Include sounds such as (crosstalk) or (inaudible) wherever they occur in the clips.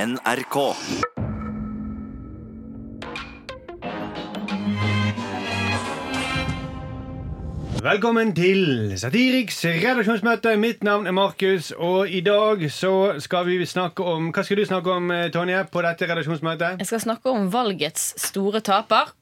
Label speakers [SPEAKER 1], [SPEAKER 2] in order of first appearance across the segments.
[SPEAKER 1] NRK.
[SPEAKER 2] Velkommen til Satiriks redaksjonsmøte. Mitt navn er Markus, og i dag så skal vi snakke om Hva skal du snakke om, eh, Tonje, på dette redaksjonsmøtet?
[SPEAKER 3] Jeg skal snakke om valgets store taper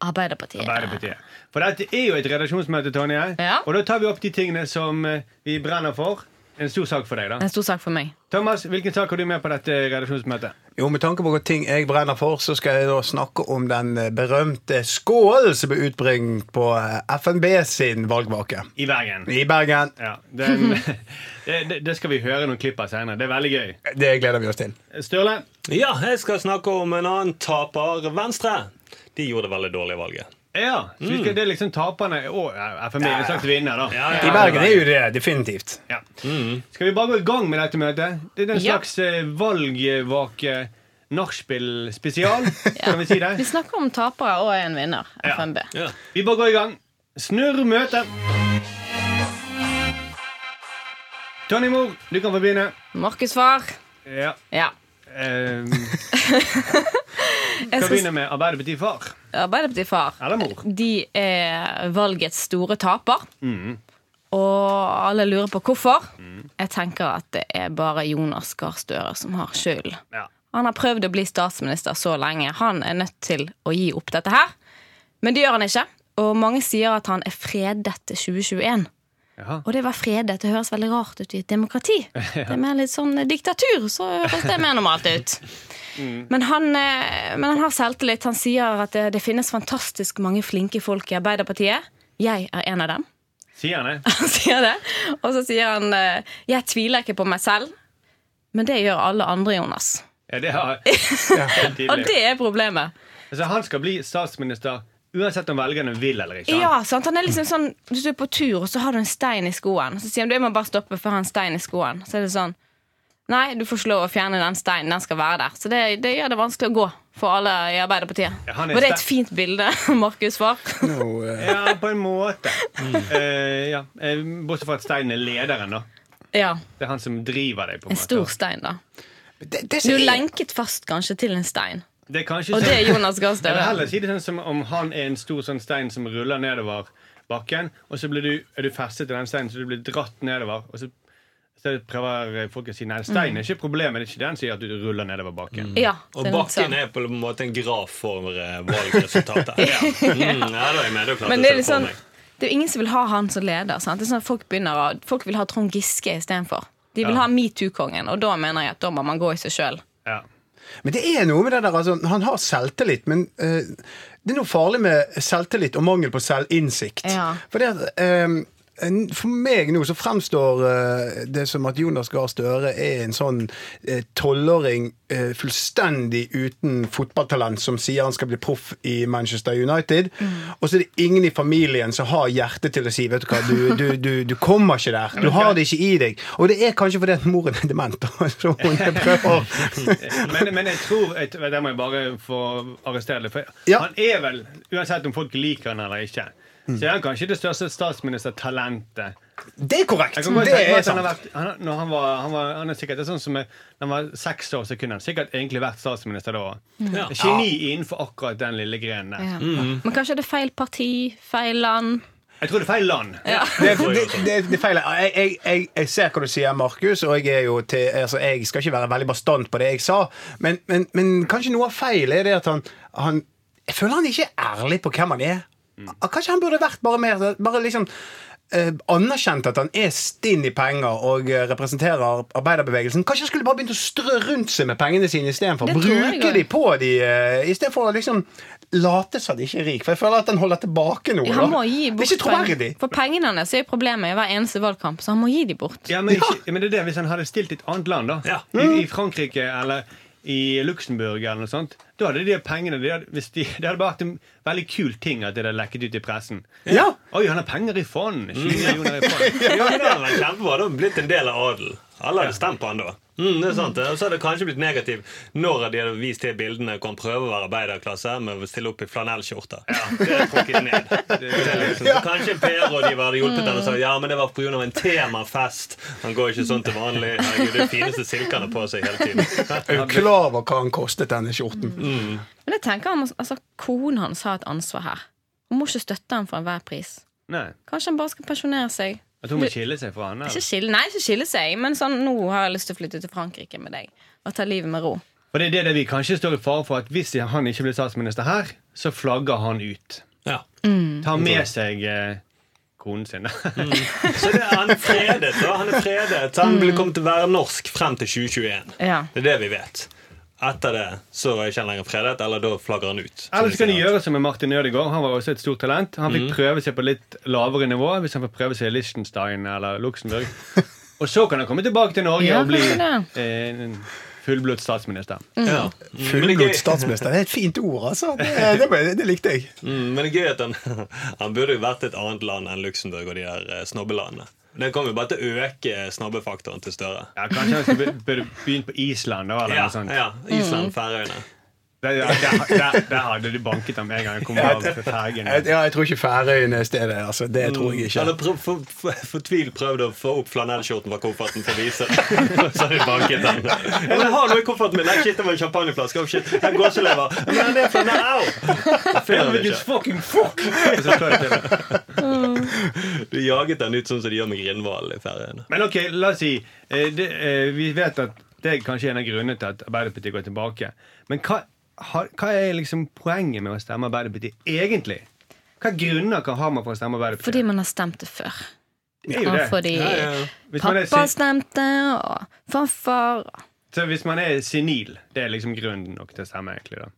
[SPEAKER 3] Arbeiderpartiet.
[SPEAKER 2] Arbeiderpartiet. For dette er jo et redaksjonsmøte, Tonje.
[SPEAKER 3] Ja.
[SPEAKER 2] Og da tar vi opp de tingene som eh, vi brenner for. En stor sak for deg, da.
[SPEAKER 3] En stor sak for meg.
[SPEAKER 2] Thomas, hvilken sak har du med på dette redaksjonsmøtet?
[SPEAKER 4] Jo, med tanke på hva ting jeg brenner for, så skal jeg da snakke om den berømte skålen som ble utbringt på eh, FNB sin valgvake
[SPEAKER 2] I Bergen.
[SPEAKER 4] i Bergen.
[SPEAKER 2] Ja, den, det, det- det skal vi høre noen klipp av senere. Det er veldig gøy.
[SPEAKER 4] Det gleder vi oss til.
[SPEAKER 2] Sturle?
[SPEAKER 5] Ja, jeg skal snakke om en annen taper, Venstre. De gjorde det veldig dårlige valget.
[SPEAKER 2] Ja. Så vi skal, det er liksom taperne og ja, FMI. En slags vinner, da.
[SPEAKER 4] I Bergen er jo det, definitivt.
[SPEAKER 2] Ja. Skal vi bare gå i gang med dette møtet? Det er en
[SPEAKER 3] Ja.
[SPEAKER 2] slags eh, valgvake nachspiel
[SPEAKER 3] (laughs)
[SPEAKER 2] spesial, kan vi si
[SPEAKER 3] Vi
[SPEAKER 2] det?
[SPEAKER 3] snakker om tapere og en vinner.
[SPEAKER 2] Ja.
[SPEAKER 3] FNB.
[SPEAKER 5] Ja.
[SPEAKER 2] Vi bare går i gang. Snurr møtet. Tony Moore, du kan få begynne.
[SPEAKER 3] Markus' far.
[SPEAKER 2] Ja.
[SPEAKER 3] Ja.
[SPEAKER 2] (laughs) ehm,
[SPEAKER 3] Jeg
[SPEAKER 2] skal
[SPEAKER 3] skal
[SPEAKER 2] begynne med Arbeiderpartiet far.
[SPEAKER 3] Arbeiderpartiet far.
[SPEAKER 2] Eller mor.
[SPEAKER 3] De er valgets store taper.
[SPEAKER 2] Mm.
[SPEAKER 3] Og alle lurer på hvorfor. Jeg tenker at det er bare Jonas Gahr Støre som har skylden.
[SPEAKER 2] Ja.
[SPEAKER 3] Han har prøvd å bli statsminister så lenge. Han er nødt til å gi opp dette her. Men det gjør han ikke. Og mange sier at han er fredet til 2021.
[SPEAKER 2] Jaha.
[SPEAKER 3] Og det var fredet. Det høres veldig rart ut i et demokrati. Det er mer litt sånn eh, diktatur, så høres det mer normalt ut. Men, han, eh, men han har selvtillit. Han sier at eh, det, det finnes fantastisk mange flinke folk i Arbeiderpartiet. Jeg er en av dem. (laughs)
[SPEAKER 2] Sier han det?
[SPEAKER 3] Han sier det. Og så sier han eh, 'jeg tviler ikke på meg selv', men det gjør alle andre, Jonas.
[SPEAKER 2] Ja, det
[SPEAKER 3] (laughs)
[SPEAKER 2] har Helt
[SPEAKER 3] Og
[SPEAKER 2] tydelig.
[SPEAKER 3] det er problemet.
[SPEAKER 2] Altså, han skal bli statsminister uansett om velgerne vil eller ikke.
[SPEAKER 3] Ja, sant? han er liksom sånn Hvis du er på tur, og så har du en stein i skoen Så sier han, du jeg må bare stoppe for jeg har en stein i skoen Så er det sånn Nei, du får ikke lov å fjerne den steinen, den skal være der Så det, det gjør det vanskelig å gå for alle i Arbeiderpartiet
[SPEAKER 2] Ja, han er
[SPEAKER 3] Og det er et
[SPEAKER 2] ste-
[SPEAKER 3] fint bilde, (laughs) Markus var
[SPEAKER 4] Nå, eh,
[SPEAKER 2] Ja, på en måte. Eh, ja. Eh, Bortsett fra at Stein er lederen, da.
[SPEAKER 3] Ja,
[SPEAKER 2] Det er han som driver deg. på en,
[SPEAKER 3] en
[SPEAKER 2] måte.
[SPEAKER 3] stor stein da
[SPEAKER 4] det, det
[SPEAKER 3] Du
[SPEAKER 4] som
[SPEAKER 3] er
[SPEAKER 4] er-
[SPEAKER 3] lenket fast kanskje til en stein
[SPEAKER 2] Det er kanskje
[SPEAKER 3] Og
[SPEAKER 2] sånn-
[SPEAKER 3] det er Jonas Gahr
[SPEAKER 2] Jeg vil
[SPEAKER 3] Støre
[SPEAKER 2] heller si det sånn som om han er en stor sånn stein som ruller nedover bakken, og så blir du, er du festet til den steinen, så du blir dratt nedover. og så så prøver eh, folk å si nei, steinen er ikke problemet. Det er ikke den som gjør at du ruller nedover bakken.
[SPEAKER 3] Ja,
[SPEAKER 5] Og
[SPEAKER 3] det er litt sånn.
[SPEAKER 5] bakken er på en måte en graf for eh,
[SPEAKER 3] (laughs)
[SPEAKER 5] valgresultatet. ja. Mm, ja, da er jeg med. Det er klart
[SPEAKER 3] Men
[SPEAKER 5] jeg
[SPEAKER 3] det er
[SPEAKER 5] ser
[SPEAKER 3] litt
[SPEAKER 5] for
[SPEAKER 3] sånn
[SPEAKER 5] meg.
[SPEAKER 3] Det er jo ingen som vil ha han som leder. Sant? Det er sånn at folk, begynner, å- folk vil ha Trond Giske istedenfor. De vil
[SPEAKER 2] Ja.
[SPEAKER 3] ha metoo-kongen, og da mener jeg at da må man gå i seg sjøl.
[SPEAKER 2] Ja.
[SPEAKER 4] Men det er noe med det der, altså, han har selvtillit, men eh, det er noe farlig med selvtillit og mangel på selvinnsikt.
[SPEAKER 3] Ja.
[SPEAKER 4] For, det, at, eh, en- for meg nå så fremstår eh, det som at Jonas Gahr Støre er en sånn tolvåring eh, fullstendig uten fotballtalent som sier han skal bli proff i Manchester United, og så er det ingen i familien som har hjerte til å si vet du hva, du, du, du, du kommer ikke der, du har det ikke i deg. Og det er kanskje fordi at moren er dement, og (laughs) så hun prøver
[SPEAKER 2] (laughs) Men, men jeg tror jeg, Der må jeg bare få arrestere det. For
[SPEAKER 4] Ja.
[SPEAKER 2] han er vel, uansett om folk liker han eller ikke, så er han kanskje det største statsministertalentet
[SPEAKER 4] Det er korrekt.
[SPEAKER 2] Jeg kan godt
[SPEAKER 4] Det
[SPEAKER 2] tenke meg
[SPEAKER 4] er
[SPEAKER 2] at han, har
[SPEAKER 4] sant.
[SPEAKER 2] vært, han, når han, var, han, var, han er sikkert det er sånn som er, Når han var seks år, så kunne han sikkert egentlig vært statsminister da òg.
[SPEAKER 5] Mm. Ja.
[SPEAKER 2] Geni innenfor akkurat den lille grenen der.
[SPEAKER 3] Men kanskje det er feil parti, feil land.
[SPEAKER 2] Jeg tror det er feil land.
[SPEAKER 4] Det, det, det, det feiler. Jeg, jeg, jeg, jeg ser hva du sier, Markus, og jeg, er jo til, altså, jeg skal ikke være veldig bastant på det jeg sa, men, men, men kanskje noe av feilen er det at han, han Jeg føler han ikke er ærlig på hvem han er. Ah, Kanskje han burde vært bare mer bare liksom eh, anerkjent at han er stinn i penger og eh, representerer arbeiderbevegelsen. Kanskje han skulle bare begynt å strø rundt seg med pengene sine istedenfor.
[SPEAKER 3] Det tror jeg
[SPEAKER 4] Bruke
[SPEAKER 3] også.
[SPEAKER 4] de på de eh, istedenfor å liksom late som de ikke er rik. For jeg føler at han holder tilbake noe.
[SPEAKER 3] Han
[SPEAKER 4] da.
[SPEAKER 3] må gi
[SPEAKER 4] det
[SPEAKER 3] bort
[SPEAKER 4] er ikke troverdig.
[SPEAKER 3] For pengene hans er jo problemet i hver eneste valgkamp, så han må gi de bort.
[SPEAKER 2] Ja, men, ikke, men det er det Hvis han hadde stilt i et annet land, da
[SPEAKER 5] Ja. Mm.
[SPEAKER 2] i, I Frankrike eller i Luxembourg eller noe sånt, da hadde de pengene de hadde, hvis de, Det hadde vært en veldig kul ting at det hadde lekket ut i pressen.
[SPEAKER 4] Ja.
[SPEAKER 2] Oi, han har penger i fond! 20 millioner i fond.
[SPEAKER 5] (laughs) Ja, men det hadde vært kjempebra. Det hadde blitt en del av adelen. Alle hadde stemt på han da. Mm, det er sant. det. Og så hadde det kanskje blitt negativ når de hadde vist de bildene hvor han prøver å være arbeiderklasse, men stille opp i flanellskjorter. Ja, det er trukket ned. Det er liksom. så kanskje Per og de hadde hjulpet han og sagt ja, men det var pga. en temafest. Han går ikke sånn til vanlig. Herregud, det er fineste silke han har på seg hele
[SPEAKER 4] (laughs)
[SPEAKER 5] tiden.
[SPEAKER 4] Er du klar over hva han kostet, denne skjorten?
[SPEAKER 5] Mm,
[SPEAKER 3] Men jeg tenker han, må- altså, Konen hans har et ansvar her. Hun må ikke støtte ham for enhver pris.
[SPEAKER 2] Nei.
[SPEAKER 3] Kanskje han bare skal pensjonere seg.
[SPEAKER 2] At hun må skille seg fra han.
[SPEAKER 3] Ikke
[SPEAKER 2] Eller?
[SPEAKER 3] skille, nei, ikke skille seg, men sånn, nå har jeg lyst til å flytte til Frankrike med deg. Og ta livet med ro.
[SPEAKER 2] For det er det vi kanskje står i fare for, at hvis han ikke blir statsminister her, så flagger han ut.
[SPEAKER 5] Ja.
[SPEAKER 2] Tar med seg eh, konen sin. da.
[SPEAKER 5] Så det, han er fredet, da. Han er fredet. Så han vil komme til å være norsk frem til 2021.
[SPEAKER 3] Ja.
[SPEAKER 5] Det er det vi vet. Etter det så er ikke han lenger fredet, eller da flagger han ut.
[SPEAKER 2] (laughs) Eller så kan de gjøre som med Martin Ødegaard. Han var også et stort talent. Han fikk prøve seg på litt lavere nivå, hvis han får prøve seg i Liechtenstein eller Luxembourg. Og så kan han komme tilbake til Norge
[SPEAKER 3] Ja,
[SPEAKER 2] og bli
[SPEAKER 3] kanskje
[SPEAKER 2] eh, en fullblods statsminister.
[SPEAKER 5] ja. mm. Men det er
[SPEAKER 4] Fullblod
[SPEAKER 5] gøy-
[SPEAKER 4] statsminister. Det er et fint ord, altså. Det, det, det, det likte jeg.
[SPEAKER 5] Mm, Men det er gøy at han, (laughs) han burde jo vært i et annet land enn Luxembourg og de der eh, snobbelandene. Det kommer jo bare til å øke eh, snobbefaktoren til Støre.
[SPEAKER 2] Ja, kanskje han skulle be- burde begynt på Island, da, eller
[SPEAKER 5] Ja,
[SPEAKER 2] noe sånt.
[SPEAKER 5] ja, Island, Færøyene.
[SPEAKER 2] Der, der, der, der hadde de banket ham en gang han kom av fergen.
[SPEAKER 4] Jeg, ja, jeg tror ikke Færøyene er stedet. Altså. Det tror jeg ikke.
[SPEAKER 5] Mm. Eller prøv, for, for, fortvilt prøvd å få opp flanellskjorten fra kofferten for å vise det. (laughs) Så har de banket den. Ja, men Jeg har noe i kofferten min. Nei, shit, det var en champagneflaske. Oh, shit, en gåselever. Men det er flanell. Au! Finner vi ikke.
[SPEAKER 2] fucking fuck! Og så slår det til.
[SPEAKER 5] Du jaget den ut sånn som de gjør med Grindhvalen i Færøyene.
[SPEAKER 2] Men ok, la oss si eh, det, eh, Vi vet at det er kanskje en av grunnene til at Arbeiderpartiet går tilbake. Men hva, har, hva er liksom poenget med å stemme Arbeiderpartiet egentlig? Hva grunner kan ha man for å stemme Arbeiderpartiet?
[SPEAKER 3] Fordi man har stemt det før.
[SPEAKER 2] det er jo
[SPEAKER 3] Og
[SPEAKER 2] det.
[SPEAKER 3] fordi
[SPEAKER 5] Ja, ja, ja.
[SPEAKER 2] Hvis man er
[SPEAKER 3] pappa
[SPEAKER 2] sin-
[SPEAKER 3] stemte, og farfar
[SPEAKER 2] Så hvis man er senil, det er liksom grunnen nok til å stemme, egentlig. da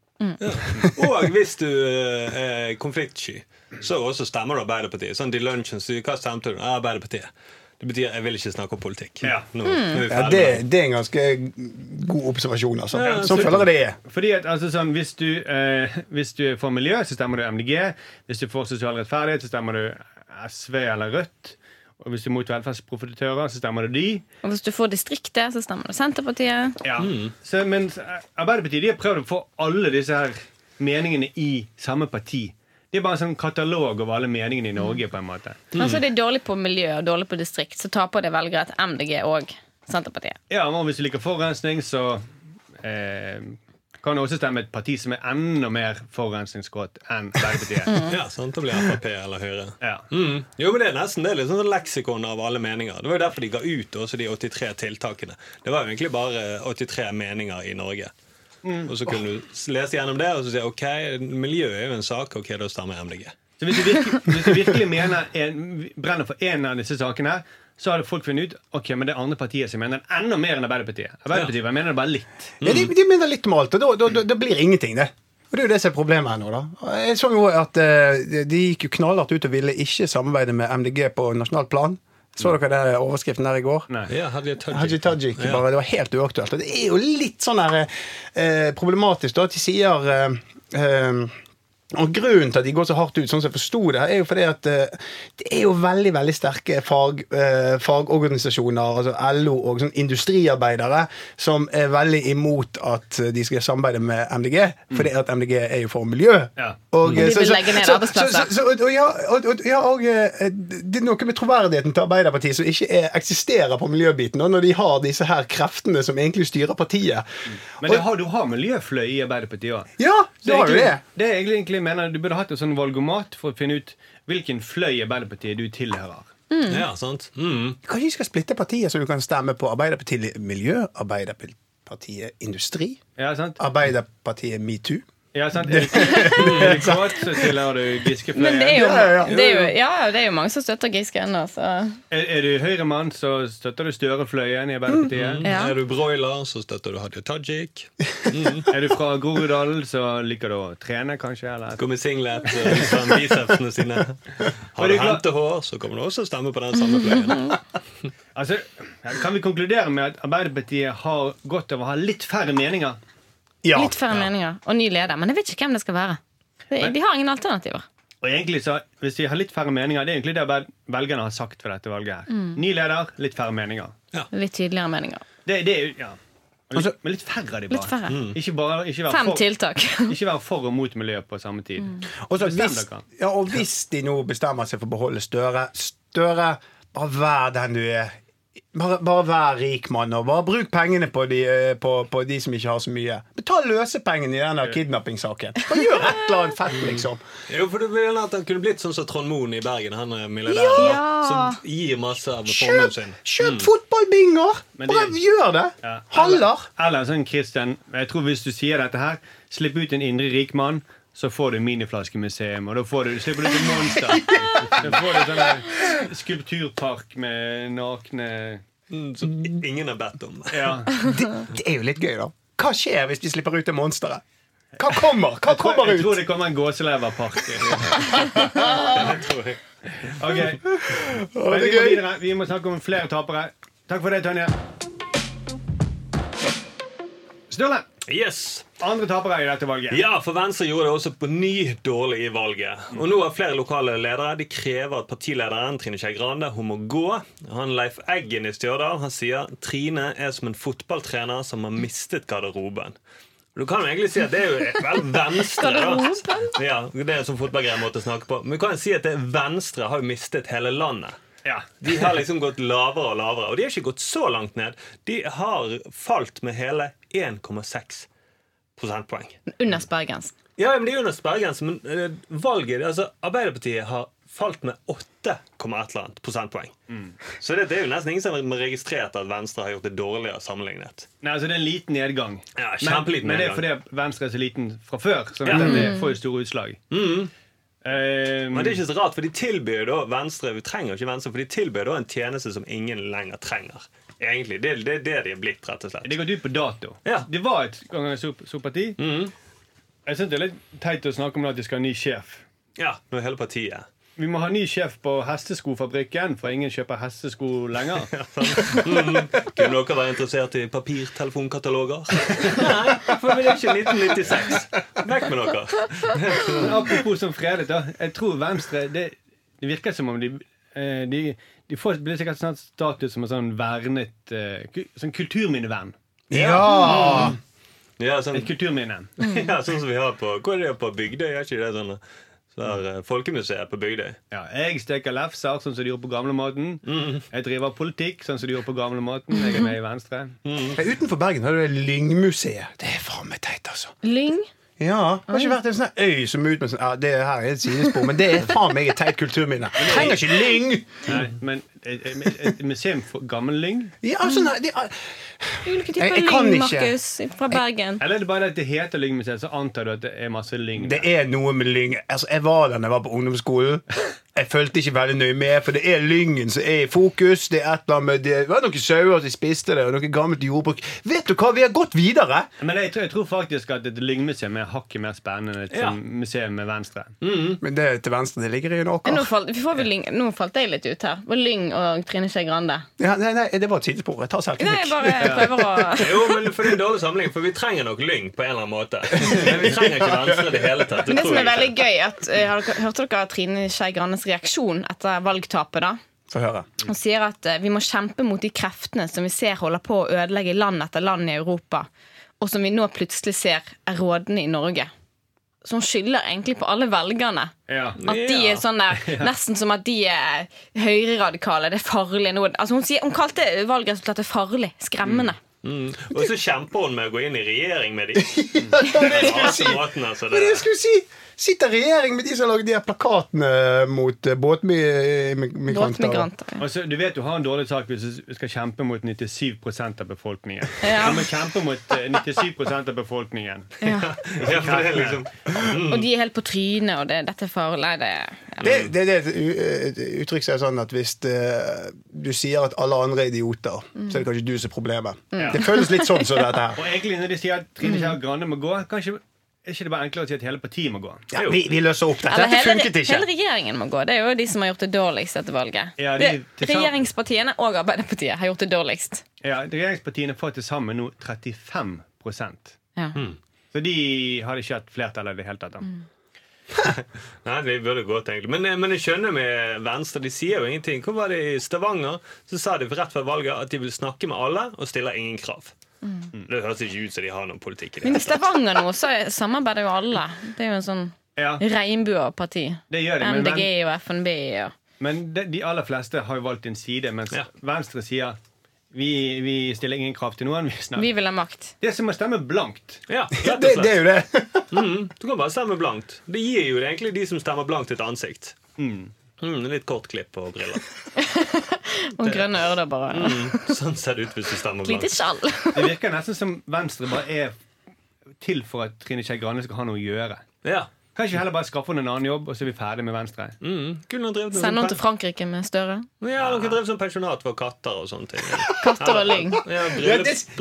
[SPEAKER 5] Og hvis du eh, er konfliktsky, så også stemmer du Arbeiderpartiet. Sånn til lunsjen så Hva stemte du? Ah, Arbeiderpartiet. Det betyr jeg vil ikke snakke om politikk.
[SPEAKER 2] Ja.
[SPEAKER 5] Nå, nå er vi
[SPEAKER 4] Ja,
[SPEAKER 5] ferdig. med
[SPEAKER 4] det, det er en ganske god observasjon, altså.
[SPEAKER 5] Ja,
[SPEAKER 4] Sånn
[SPEAKER 5] absolutt.
[SPEAKER 4] føler jeg det er.
[SPEAKER 2] Fordi at, altså sånn, hvis du, eh, hvis du er for miljø, så stemmer du MDG. Hvis du får sosial rettferdighet, så stemmer du SV eller Rødt. Og hvis du er mot velferdsprofitører, så stemmer du de.
[SPEAKER 3] Og hvis du får distriktet, så stemmer du Senterpartiet.
[SPEAKER 2] Ja. Så, men eh, Arbeiderpartiet de har prøvd å få alle disse her meningene i samme parti. Det er bare en sånn katalog over alle meningene i Norge. på en måte
[SPEAKER 3] Altså
[SPEAKER 4] Mm.
[SPEAKER 3] det er dårlig på miljø og dårlig på distrikt, så taper det velgere til MDG og Senterpartiet.
[SPEAKER 2] Ja, og Hvis du liker forurensning, så eh, kan du også stemme et parti som er enda mer forurensningsgrått enn Arbeiderpartiet.
[SPEAKER 5] (laughs) det. Ja, sant, Da blir Frp eller Høyre.
[SPEAKER 2] Ja.
[SPEAKER 5] Mm. Jo, men Det er nesten det er litt sånn leksikon av alle meninger. Det var jo derfor de ga ut også de 83 tiltakene. Det var jo egentlig bare 83 meninger i Norge. Og så kunne du s- lese gjennom det og så si ok, miljø er jo en sak. Ok, da stemmer jeg MDG.
[SPEAKER 2] Så hvis du virkelig, hvis du virkelig mener en, brenner for en av disse sakene, her, så har folk funnet ut ok, men det er andre partier som mener den enda mer enn Arbeiderpartiet. Arbeiderpartiet mener det bare litt.
[SPEAKER 4] Ja,
[SPEAKER 5] Mm.
[SPEAKER 4] de, de minner litt om alt, og da, da, da, da blir ingenting, det. Og Det er jo det som er problemet her nå. da. Jeg så jo at eh, de- De gikk jo knallhardt ut og ville ikke samarbeide med MDG på nasjonalt plan. Så dere den overskriften der i går?
[SPEAKER 2] Nei.
[SPEAKER 5] Ja, Hadia Tajik.
[SPEAKER 4] Haji Tajik,
[SPEAKER 5] Ja.
[SPEAKER 4] bare, det var helt uaktuelt. Og det er jo litt sånn der, eh, problematisk da, at de sier eh, eh, og Grunnen til at de går så hardt ut, sånn som jeg forsto det, her, er jo fordi at eh, det er jo veldig veldig sterke fag, eh, fagorganisasjoner, altså LO og sånn industriarbeidere, som er veldig imot at de skal samarbeide med MDG, fordi at MDG er jo for miljø.
[SPEAKER 2] Ja.
[SPEAKER 4] Og, eh,
[SPEAKER 3] de
[SPEAKER 4] så-
[SPEAKER 3] vil
[SPEAKER 4] så-
[SPEAKER 3] legge ned
[SPEAKER 4] så-
[SPEAKER 3] arbeidsplasser.
[SPEAKER 4] så- så- så, og, og, ja, og, og, ja, og eh, Det er noe med troverdigheten til Arbeiderpartiet som ikke er, eksisterer på miljøbiten, og når de har disse her kreftene som egentlig styrer partiet.
[SPEAKER 2] Mm. Men det har, du har miljøfløy i Arbeiderpartiet òg.
[SPEAKER 4] Ja, det har jo det.
[SPEAKER 2] Det jeg egentlig mener Du burde hatt en sånn valgomat for å finne ut hvilken fløy i Arbeiderpartiet du tilhører.
[SPEAKER 5] Ja, sant? Mm.
[SPEAKER 4] Kanskje de skal splitte partiet, så du kan stemme på Arbeiderpartiet Miljø, Arbeiderpartiet Industri,
[SPEAKER 2] Ja, sant?
[SPEAKER 4] Arbeiderpartiet Metoo.
[SPEAKER 2] Ja, sant? Er du er
[SPEAKER 4] (laughs)
[SPEAKER 2] du kåt, så tilhører du
[SPEAKER 3] Men det er
[SPEAKER 2] Giske-fløyen.
[SPEAKER 3] jo,
[SPEAKER 4] Ja, ja, ja.
[SPEAKER 3] Det er jo, ja, det er jo mange som støtter Giske ennå, så
[SPEAKER 2] Er, er du høyremann, så støtter du Støre-fløyen i Arbeiderpartiet.
[SPEAKER 3] Ja.
[SPEAKER 5] Er du broiler, så støtter du Hadia Tajik.
[SPEAKER 3] Mm.
[SPEAKER 2] (laughs) Er du fra Groruddalen, så liker du å trene, kanskje. Eller?
[SPEAKER 5] Gå med singlet og vise fram bicepsene sine. Har
[SPEAKER 2] du
[SPEAKER 5] du
[SPEAKER 2] glad-
[SPEAKER 5] hentehår, så kommer du også stemme på den samme fløyen.
[SPEAKER 2] Altså, kan vi konkludere med at Arbeiderpartiet har godt av å ha litt færre meninger?
[SPEAKER 4] Ja.
[SPEAKER 3] litt færre meninger. Og ny leder. Men jeg vet ikke hvem det skal være. Det- De har ingen alternativer.
[SPEAKER 2] Og egentlig så,
[SPEAKER 3] Mm.
[SPEAKER 2] Hvis vi har litt færre meninger, det er egentlig det vel- velgerne har sagt for dette valget. her. Ny leder, litt færre meninger.
[SPEAKER 5] Ja.
[SPEAKER 3] Litt tydeligere meninger.
[SPEAKER 2] Det, det er jo ja. Og
[SPEAKER 4] Altså-
[SPEAKER 2] litt, men litt færre av de,
[SPEAKER 3] Litt
[SPEAKER 2] bare.
[SPEAKER 3] færre.
[SPEAKER 2] Ikke, bare ikke, være
[SPEAKER 3] Fem Mm.
[SPEAKER 2] for,
[SPEAKER 3] tiltak. (laughs)
[SPEAKER 2] ikke være for og mot miljøet på samme tid.
[SPEAKER 4] Og så
[SPEAKER 2] Bestem
[SPEAKER 4] hvis,
[SPEAKER 2] dere.
[SPEAKER 4] ja, og hvis de nå bestemmer seg for å beholde Støre Støre, bare vær den du er. Bare, bare vær rik mann, og bare bruk pengene på de, eh, på, på de som ikke har så mye. Betal løsepengene i den der kidnappingssaken. Bare gjør et eller annet fett,
[SPEAKER 2] Mm.
[SPEAKER 4] liksom.
[SPEAKER 5] Jo, for det ville at Han kunne blitt sånn som Trond Moen i Bergen, han er milliardær.
[SPEAKER 3] Ja!
[SPEAKER 5] Som gir masse av formuen
[SPEAKER 4] Kjøp,
[SPEAKER 5] sin.
[SPEAKER 4] kjøp fotballbinger!
[SPEAKER 2] Mm. Men
[SPEAKER 4] Bare
[SPEAKER 2] det-
[SPEAKER 4] gjør det.
[SPEAKER 2] Ja.
[SPEAKER 4] Haller.
[SPEAKER 2] Eller en sånn Christian Jeg tror hvis du sier dette her, slipp ut en indre rik mann. Så får du miniflaskemuseum, og da får du, slipper du ut en
[SPEAKER 3] (laughs)
[SPEAKER 2] monster. Så får du sånn skulpturpark med nakne
[SPEAKER 5] mm, Som ingen har bedt om.
[SPEAKER 2] Ja.
[SPEAKER 4] Det, det er jo litt gøy, da. Hva skjer hvis de slipper ut det monsteret? Hva kommer? Hva kommer
[SPEAKER 2] (laughs) Jeg
[SPEAKER 4] ut?
[SPEAKER 2] tror det kommer en
[SPEAKER 4] (laughs)
[SPEAKER 2] gåseleverpark.
[SPEAKER 5] Det tror jeg.
[SPEAKER 2] Ok.
[SPEAKER 4] Å,
[SPEAKER 2] Men
[SPEAKER 4] det
[SPEAKER 2] vi må
[SPEAKER 4] er gøy.
[SPEAKER 2] videre. Vi må snakke om flere tapere. Takk for det, Tonje. Sturle.
[SPEAKER 5] Yes!
[SPEAKER 2] Andre tapere i dette valget.
[SPEAKER 5] Ja, for Venstre gjorde det også på ny dårlig i valget. Og nå har flere lokale ledere de krever at partilederen Trine Skei Grande hun må gå. Han Leif Eggen i Stjørdal han sier Trine er som en fotballtrener som har mistet garderoben. Du kan jo egentlig si at det er jo vel Venstre, da. Ja, det er en sånn fotballgreie måte å snakke på. Men du kan jo si at det Venstre har jo mistet hele landet.
[SPEAKER 2] Ja.
[SPEAKER 5] De har liksom gått lavere og lavere. Og de har ikke gått så langt ned. De har falt med hele 1,6 prosentpoeng.
[SPEAKER 3] Under sperregrensen.
[SPEAKER 5] Ja, men det er jo under sperregrensen, men eh, valget Altså, Arbeiderpartiet har falt med 8,1 prosentpoeng.
[SPEAKER 2] Mm.
[SPEAKER 5] Så det, det er jo nesten ingen som har registrert at Venstre har gjort det dårligere sammenlignet.
[SPEAKER 2] Nei, altså Det er en liten nedgang.
[SPEAKER 5] Ja,
[SPEAKER 2] men,
[SPEAKER 5] kjempeliten
[SPEAKER 2] men det er fordi
[SPEAKER 5] nedgang.
[SPEAKER 2] Venstre er så liten fra før. Så
[SPEAKER 5] Ja. Mm.
[SPEAKER 2] det får jo store utslag. Ehm, Eh,
[SPEAKER 5] Men det er ikke så rart, for de tilbyr jo da Venstre Vi trenger jo ikke Venstre, for de tilbyr da en tjeneste som ingen lenger trenger. Egentlig, Det det er det, de er blitt, rett og slett.
[SPEAKER 2] Det går ut på dato.
[SPEAKER 5] Ja. Mm.
[SPEAKER 2] Det var et gang et sort- sort parti. Jeg synes Det er litt teit å snakke om at de skal ha ny sjef.
[SPEAKER 5] Ja, Nå er hele partiet
[SPEAKER 2] Vi må ha ny sjef på hesteskofabrikken, for ingen kjøper hestesko lenger.
[SPEAKER 5] Kunne dere være interessert i papirtelefonkataloger? Nei, for vi er ikke 1996. Vekk med dere.
[SPEAKER 2] Men apropos som fredet, da. Jeg tror Venstre Det, det virker som om de eh, De, de får, blir sikkert snart status som en sånn vernet eh, ku- Sånn kulturminnevern.
[SPEAKER 4] Ja!
[SPEAKER 5] Ja, sånn
[SPEAKER 2] Et kulturminne.
[SPEAKER 5] Ja, sånn som vi har på Hvor er det på Bygdøy? Er ikke det sånn så har eh, Folkemuseet på Bygdøy.
[SPEAKER 2] Ja, jeg steker lefser, sånn som de gjorde på gamlemåten. Jeg driver politikk, sånn som de gjorde på gamlemåten. Jeg er med i Venstre.
[SPEAKER 4] Utenfor Bergen har du det Lyngmuseet. Det er faen meg teit, altså.
[SPEAKER 3] Lyng.
[SPEAKER 4] Ja, Det har ikke vært en sånn her øy som er ut med sånn ja, Det her er et sidespor, men det er faen meg et teit kulturminne. Trenger ikke lyng!
[SPEAKER 2] Nei, men et, et, et museum for gammel lyng?
[SPEAKER 4] Ja, altså, nei, det er,
[SPEAKER 3] Ulike
[SPEAKER 4] Jeg-
[SPEAKER 3] typer
[SPEAKER 4] jeg kan
[SPEAKER 3] lyng,
[SPEAKER 4] ikke.
[SPEAKER 3] Markus, fra Bergen.
[SPEAKER 2] Eller er det bare det at det heter Lyngmuseet, så antar du at det er masse lyng?
[SPEAKER 4] det er noe med lyng. Altså, Jeg var der da jeg var på ungdomsskolen. Jeg fulgte ikke veldig nøye med, for det er lyngen som er i fokus. Det er et eller annet med det, det var noen sauer som spiste det, og noe gammelt jordbruk. Vet du hva, vi har gått videre!
[SPEAKER 2] Men jeg tror, jeg tror faktisk at et lyngmuseum er hakket mer spennende enn et
[SPEAKER 5] Ja.
[SPEAKER 2] sånn museum med Venstre.
[SPEAKER 4] Men det til venstre, det ligger i en
[SPEAKER 3] Nå
[SPEAKER 4] åker.
[SPEAKER 3] falt, får vi lyng. Nå falt jeg litt ut her. Det var Lyng og Trine Skei Grande.
[SPEAKER 4] Ja, nei, nei, det var et sidespor. Jeg tar
[SPEAKER 3] Nei, jeg
[SPEAKER 4] selvkritikk.
[SPEAKER 3] bare (laughs) prøver å
[SPEAKER 5] Jo, men for det er en dårlig sammenligning, for vi trenger nok lyng på en eller annen måte. Men vi trenger ikke Venstre i det hele tatt.
[SPEAKER 3] Men det
[SPEAKER 5] tror
[SPEAKER 3] som er
[SPEAKER 5] jeg
[SPEAKER 3] veldig
[SPEAKER 5] ikke.
[SPEAKER 3] gøy, at, eh, har dere, hørte dere Trine Skei Grandes reaksjon etter valgtapet? da?
[SPEAKER 4] Få (laughs) høre.
[SPEAKER 3] Hun sier at eh, vi må kjempe mot de kreftene som vi ser holder på å ødelegge land etter land i Europa, og som vi nå plutselig ser er rådende i Norge. Så hun skylder egentlig på alle velgerne.
[SPEAKER 2] Ja.
[SPEAKER 3] At de
[SPEAKER 5] (laughs) Ja.
[SPEAKER 3] er sånn der, Nesten som at de er høyreradikale. Det er farlig nå. Altså hun, sier, hun kalte valgresultatet farlig. Skremmende.
[SPEAKER 5] Og så kjemper hun med å gå inn i regjering
[SPEAKER 3] (laughs)
[SPEAKER 5] med de.
[SPEAKER 4] det
[SPEAKER 5] Ja, på måten, altså,
[SPEAKER 4] Men
[SPEAKER 5] det.
[SPEAKER 4] jeg skulle si Sitter regjering med de som har lagd de her plakatene mot eh,
[SPEAKER 5] Mm.
[SPEAKER 4] båtmigranter?
[SPEAKER 3] Båtmigranter. ja.
[SPEAKER 2] Og så, Altså, du vet du har en dårlig sak hvis du skal kjempe mot 97 av befolkningen.
[SPEAKER 3] Ja.
[SPEAKER 2] Du må kjempe mot eh, 97 av befolkningen.
[SPEAKER 3] Ja.
[SPEAKER 5] Ja, for det er liksom,
[SPEAKER 3] Og de er helt på trynet, og det, dette er farlig. Nei, Det, ja.
[SPEAKER 4] Det, det, det er et u- et uttrykk som er sånn at hvis eh, du sier at alle andre er idioter,
[SPEAKER 3] Mm.
[SPEAKER 4] så er det kanskje du som er problemet. Det føles litt
[SPEAKER 3] (laughs)
[SPEAKER 4] sånn som dette her.
[SPEAKER 2] Og egentlig når de sier at Trine Skei Grande må gå, kanskje er ikke det bare enklere å si at hele partiet må gå?
[SPEAKER 4] Ja, vi, vi løser opp dette.
[SPEAKER 3] Eller
[SPEAKER 4] Dette
[SPEAKER 3] hele,
[SPEAKER 4] funket ikke.
[SPEAKER 3] hele regjeringen må gå. Det er jo de som har gjort det dårligst etter valget.
[SPEAKER 2] Ja, de-
[SPEAKER 3] det,
[SPEAKER 2] til sammen-
[SPEAKER 3] regjeringspartiene og Arbeiderpartiet har gjort det dårligst.
[SPEAKER 2] Ja, Regjeringspartiene får til sammen nå 35
[SPEAKER 3] Ja.
[SPEAKER 2] Hmm.
[SPEAKER 3] Mm.
[SPEAKER 2] Så de har ikke hatt flertall i det hele tatt. da.
[SPEAKER 5] Nei, de burde gått, egentlig. Men, eh, men jeg skjønner med Venstre. De sier jo ingenting. Hvor var det i Stavanger? Så sa de rett før valget at de vil snakke med alle og stiller ingen krav. Det høres ikke ut som de har noen politikk i det.
[SPEAKER 3] Men i Stavanger nå så er- samarbeider jo alle. Det er jo en sånn
[SPEAKER 2] Ja,
[SPEAKER 3] regnbueparti.
[SPEAKER 2] det gjør de, men,
[SPEAKER 3] MDG
[SPEAKER 2] men,
[SPEAKER 3] og FNB og
[SPEAKER 2] men de, de aller fleste har jo valgt en side, mens
[SPEAKER 5] Ja.
[SPEAKER 2] Venstre sier vi, vi stiller ingen krav til noen. Vi snakker.
[SPEAKER 3] Vi vil ha makt.
[SPEAKER 2] Det er som å stemme blankt.
[SPEAKER 5] Ja, rett
[SPEAKER 4] Det,
[SPEAKER 5] og
[SPEAKER 4] det
[SPEAKER 5] slett.
[SPEAKER 4] er jo det.
[SPEAKER 5] Mm, du kan bare stemme blankt. Det gir jo egentlig de som stemmer blankt, et ansikt. Mm, litt kort klipp og briller. (laughs)
[SPEAKER 3] Og grønne ører, bare.
[SPEAKER 5] Mm, sånn ser det ut hvis du stemmer
[SPEAKER 3] Et lite
[SPEAKER 5] blankt.
[SPEAKER 2] (laughs)
[SPEAKER 3] skjall.
[SPEAKER 2] Det virker nesten som Venstre bare er til for at Trine Skei Grande skal ha noe å gjøre.
[SPEAKER 5] Ja.
[SPEAKER 2] Kan ikke vi heller bare skaffe henne en annen jobb, og så er vi ferdig med Venstre?
[SPEAKER 5] Mm, kunne han drevet med
[SPEAKER 3] Send
[SPEAKER 5] sånn
[SPEAKER 3] henne til Frankrike med Støre.
[SPEAKER 5] pe- Ja, dere drev som pensjonat for katter og sånne ting.
[SPEAKER 3] Katter og lyng.
[SPEAKER 5] Ja,
[SPEAKER 4] Ja,
[SPEAKER 5] bryllups,
[SPEAKER 4] det-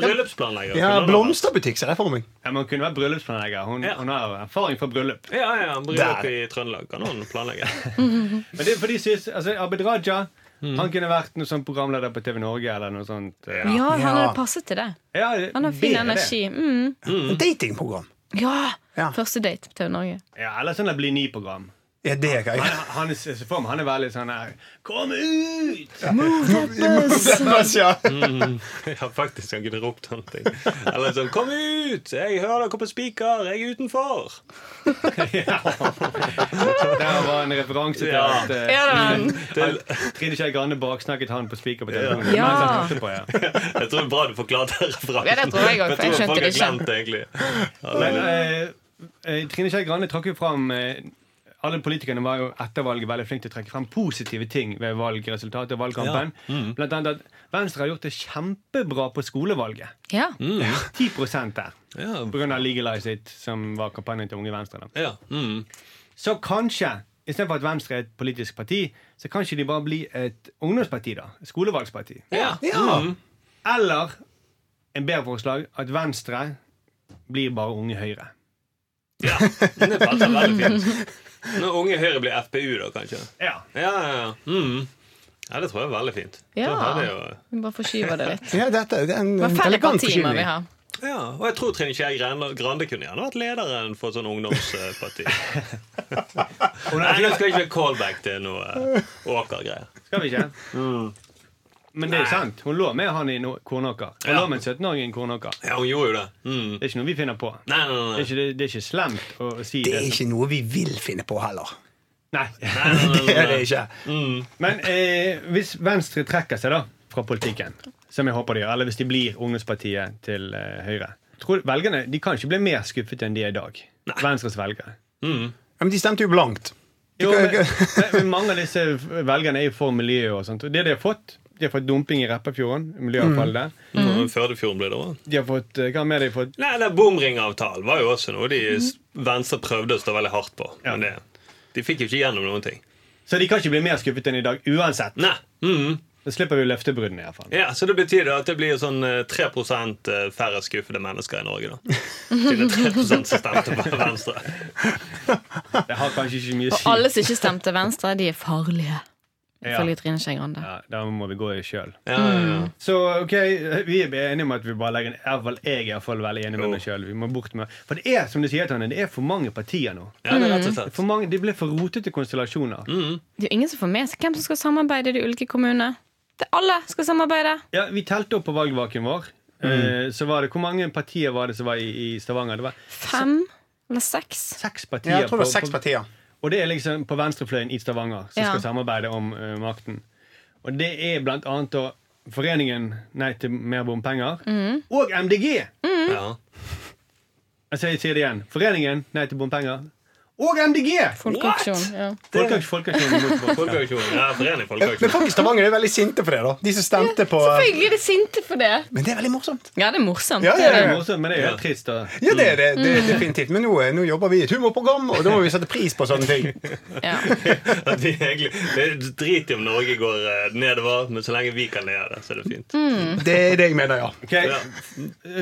[SPEAKER 4] Ja,
[SPEAKER 5] bryllupsplanlegger. kunne han vært.
[SPEAKER 4] Blomsterbutikk ser jeg for meg.
[SPEAKER 2] Ja, men hun kunne vært bryllupsplanlegger. Hun,
[SPEAKER 5] Ja.
[SPEAKER 2] hun har erfaring fra bryllup.
[SPEAKER 5] Ja, ja, bryllup
[SPEAKER 4] Der.
[SPEAKER 5] i Trøndelag kan noen planlegge.
[SPEAKER 2] Men det er fordi synes, altså, Abid Raja
[SPEAKER 5] Mm.
[SPEAKER 2] han kunne vært noe sånn programleder på TV Norge eller noe sånt. Ja,
[SPEAKER 3] Ja, han
[SPEAKER 4] Ja.
[SPEAKER 3] hadde passet til det.
[SPEAKER 2] Ja,
[SPEAKER 3] Han har
[SPEAKER 2] det
[SPEAKER 3] fin
[SPEAKER 2] er det.
[SPEAKER 3] energi. Mm.
[SPEAKER 4] Datingprogram.
[SPEAKER 3] Ja!
[SPEAKER 4] Ja.
[SPEAKER 3] Første date på TV Norge.
[SPEAKER 2] Ja, eller sånn Bli ny-program.
[SPEAKER 4] Ja, det er
[SPEAKER 2] Han,
[SPEAKER 4] greit.
[SPEAKER 2] han, er- jeg ser for meg, han er veldig sånn her Kom ut! (laughs)
[SPEAKER 4] (laughs) Ja.
[SPEAKER 3] Mm.
[SPEAKER 5] (laughs) Ja, faktisk, han kunne ropt sånne ting. Eller sånn 'Kom ut! Jeg hører dere på spiker! Jeg er utenfor!' (laughs)
[SPEAKER 2] Ja. Der var en referanse til
[SPEAKER 5] Ja.
[SPEAKER 2] at eh,
[SPEAKER 3] Ja, da.
[SPEAKER 5] Til,
[SPEAKER 2] Trine Skei Grande baksnakket han på speaker på telefonen.
[SPEAKER 3] Ja.
[SPEAKER 2] mens han hørte på, ja.
[SPEAKER 5] jeg tror det er bra du forklarte referansen.
[SPEAKER 3] Ja, det tror jeg også, for jeg skjønte
[SPEAKER 5] tror folk
[SPEAKER 3] det
[SPEAKER 5] har
[SPEAKER 3] ikke.
[SPEAKER 5] glemt det, egentlig.
[SPEAKER 2] Men eh, eh, Trine Skei Grande trakk jo fram eh, Alle politikerne var jo etter valget veldig flinke til å trekke frem positive ting ved valgresultatet. og valgkampen Blant annet at Venstre har gjort det kjempebra på skolevalget.
[SPEAKER 3] Ja.
[SPEAKER 2] 10 der.
[SPEAKER 5] Ja,
[SPEAKER 2] Pga. Legalize It, som var kampanjen til Unge Venstre. Da.
[SPEAKER 5] ja. Mm.
[SPEAKER 2] Så kanskje, istedenfor at Venstre er et politisk parti, så kanskje de bare blir et ungdomsparti, da. Et Skolevalgsparti.
[SPEAKER 5] ja. Mm.
[SPEAKER 2] Eller en bedre forslag at Venstre blir bare Unge Høyre.
[SPEAKER 5] ja. Det passer
[SPEAKER 3] (laughs)
[SPEAKER 5] veldig fint. Når Unge Høyre blir FPU, da, kanskje.
[SPEAKER 2] Ja.
[SPEAKER 5] Ja, ja, ja. Mm. ja det tror jeg er veldig fint.
[SPEAKER 3] Ja.
[SPEAKER 5] Da har det jo...
[SPEAKER 3] Vi bare forskyver det litt.
[SPEAKER 4] Ja, dette det er en
[SPEAKER 3] Hva færre
[SPEAKER 4] elegant
[SPEAKER 3] partier må vi
[SPEAKER 4] forskyvning.
[SPEAKER 3] ha?
[SPEAKER 5] ja. Og jeg tror Trine Skei Grande Grande kunne gjerne vært lederen for et sånn (laughs) ungdomsparti.
[SPEAKER 2] Og
[SPEAKER 5] Nei, nå
[SPEAKER 2] det
[SPEAKER 5] skal jeg ikke callback til noe eh, Åker-greier.
[SPEAKER 2] skal vi ikke.
[SPEAKER 4] Mm.
[SPEAKER 2] Men det er sant. Hun lå med han i no Kornåker. Hun
[SPEAKER 5] Ja.
[SPEAKER 2] lå med en 17-åring i en Kornåker.
[SPEAKER 5] Ja, hun gjorde jo det. Mm.
[SPEAKER 2] Det er ikke noe vi finner på.
[SPEAKER 5] Nei, nei,
[SPEAKER 2] Det
[SPEAKER 5] nei.
[SPEAKER 2] er ikke, det, det er ikke slemt å si
[SPEAKER 4] Det
[SPEAKER 2] det.
[SPEAKER 4] er ikke noe vi vil finne på heller.
[SPEAKER 2] Nei.
[SPEAKER 5] nei, nei, nei,
[SPEAKER 3] Mm.
[SPEAKER 4] (laughs) Det
[SPEAKER 5] nei,
[SPEAKER 4] er det ikke.
[SPEAKER 2] Men eh, hvis Venstre trekker seg da fra politikken, som jeg håper de gjør, eller hvis de blir ungdomspartiet til eh, Høyre tror Velgerne de kan ikke bli mer skuffet enn de er i dag. Venstres velgere.
[SPEAKER 4] Ja, Men de stemte jo blankt.
[SPEAKER 2] Jo,
[SPEAKER 4] kan-
[SPEAKER 2] men, men- men mange av disse velgerne er jo for miljøet og sånt. Og det de har fått, de har fått dumping i Repparfjorden, miljøavfall der.
[SPEAKER 5] Mm. Førdefjorden ble det òg.
[SPEAKER 2] De har fått, eh, hva mer de har fått?
[SPEAKER 5] Nei, den bomringavtalen var jo også noe de s- Venstre prøvde å stå veldig hardt på. Men det, de fikk jo ikke gjennom noen ting.
[SPEAKER 2] Så de kan ikke bli mer skuffet enn i dag uansett.
[SPEAKER 5] Nei. Mm.
[SPEAKER 2] Da slipper vi løftebruddene i hvert fall.
[SPEAKER 5] Ja, Så det betyr da at det blir sånn eh, 3 eh, færre skuffede mennesker i Norge, da. Siden det er 3 som stemte på Venstre.
[SPEAKER 2] Det har kanskje ikke mye å
[SPEAKER 3] Og
[SPEAKER 2] si.
[SPEAKER 3] alle som ikke stemte Venstre, de er farlige. Ifølge Trine Skei Grande.
[SPEAKER 2] Ja, da må vi gå i sjøl.
[SPEAKER 5] Ja, ja, ja.
[SPEAKER 2] Så ok, vi er enige om at vi bare legger en i hvert fall Jeg er i hvert fall veldig enig med meg sjøl. Vi må bort med For det er som du sier, Tanje, det er for mange partier nå.
[SPEAKER 5] ja det er rett og
[SPEAKER 2] Det er
[SPEAKER 5] slett.
[SPEAKER 2] For mange, det ble for rotete konstellasjoner.
[SPEAKER 3] Det er jo ingen som får med seg hvem som skal samarbeide i de ulike kommunene. Det er alle som skal samarbeide.
[SPEAKER 2] Ja, Vi telte opp på valgvaken vår. Eh, Så var det, Hvor mange partier var det som var i, i Stavanger? Det var
[SPEAKER 3] Fem eller seks.
[SPEAKER 2] seks partier.
[SPEAKER 4] Ja, jeg tror det
[SPEAKER 2] på-
[SPEAKER 4] var seks partier.
[SPEAKER 2] På, og det er liksom på venstrefløyen i Stavanger som
[SPEAKER 3] Ja.
[SPEAKER 2] skal samarbeide om eh, makten. Og det er blant annet da Foreningen Nei til mer bompenger
[SPEAKER 3] Mhm.
[SPEAKER 2] og MDG.
[SPEAKER 5] Ja.
[SPEAKER 2] Jeg sier, jeg sier det igjen. Foreningen Nei til bompenger og MDG!
[SPEAKER 3] Folkeaksjon. Ja.
[SPEAKER 2] Folkeaksjon- Folkeaksjonen mot bompenger.
[SPEAKER 5] Folkeaksjonen. Ja,
[SPEAKER 4] Men
[SPEAKER 5] Forening
[SPEAKER 4] (laughs)
[SPEAKER 5] Folkeaksjonen.
[SPEAKER 4] folk i Stavanger er veldig sinte for det, da. De som stemte på
[SPEAKER 3] Selvfølgelig er de sinte for det.
[SPEAKER 4] Men det er veldig morsomt.
[SPEAKER 3] Ja, det er morsomt.
[SPEAKER 4] Ja,
[SPEAKER 3] det er
[SPEAKER 4] ja,
[SPEAKER 2] Det
[SPEAKER 3] det.
[SPEAKER 2] er morsomt, men det er jo helt trist. Da.
[SPEAKER 4] Ja, det er det, det er definitivt. Men nå, eh, nå jobber vi i et humorprogram, og da må vi sette pris på sånne ting.
[SPEAKER 3] Ja.
[SPEAKER 5] At vi egentlig, det er drit i om Norge går eh, nedover, men så lenge vi kan le av det, så er det fint.
[SPEAKER 4] Det er det jeg mener, ja.
[SPEAKER 2] Ok,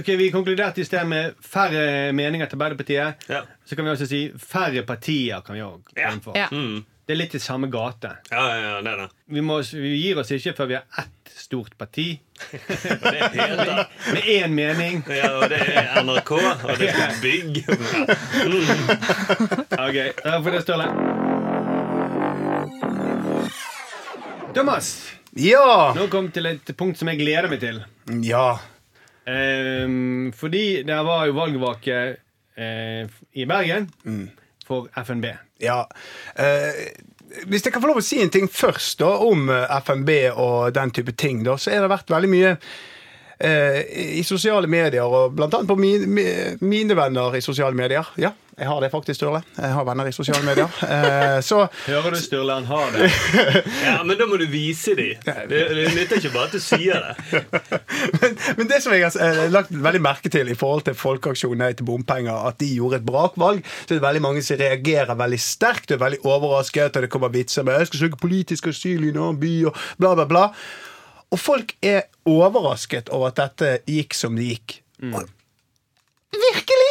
[SPEAKER 2] ok, Vi konkluderte i sted med færre meninger til Arbeiderpartiet.
[SPEAKER 5] Ja.
[SPEAKER 2] Så kan vi også si færre partier. kan vi også gå inn for.
[SPEAKER 3] Ja.
[SPEAKER 4] Mm.
[SPEAKER 2] Det er litt i samme gate.
[SPEAKER 5] Ja, ja, ja, det er det.
[SPEAKER 2] Vi, må, vi gir oss ikke før vi har ett stort parti
[SPEAKER 5] Og det er helt det.
[SPEAKER 2] med én mening.
[SPEAKER 4] (laughs)
[SPEAKER 5] Ja, og det er NRK, og det er bygg.
[SPEAKER 2] Ja, OK. Da får det Sturle. Thomas,
[SPEAKER 4] Ja!
[SPEAKER 2] nå kom til et punkt som jeg gleder meg til.
[SPEAKER 4] Ja.
[SPEAKER 2] Ehm, fordi det var jo valgvake eh, i Bergen for FNB.
[SPEAKER 4] Ja. Eh, hvis jeg kan få lov å si en ting først da, om eh, FNB og den type ting, da, så har det vært veldig mye eh, i sosiale medier, og blant annet på min, mi- mine venner i sosiale medier. Ja, jeg har det faktisk, Sturle. Jeg har venner i sosiale medier. Eh, så
[SPEAKER 2] Hører du, Sturle? Han har det.
[SPEAKER 5] Ja, Men da må du vise dem. Det, det nytter ikke bare at du sier det.
[SPEAKER 4] men, (laughs) men det som jeg har eh, lagt veldig merke til i forhold til Folkeaksjonen Nei til bompenger, at de gjorde et brakvalg, så er det veldig mange som reagerer veldig sterkt og er veldig overrasket, og det kommer vitser med 'jeg skal søke politisk asyl i en annen by', og bla, bla, bla. Og folk er overrasket over at dette gikk som det gikk. Og Virkelig!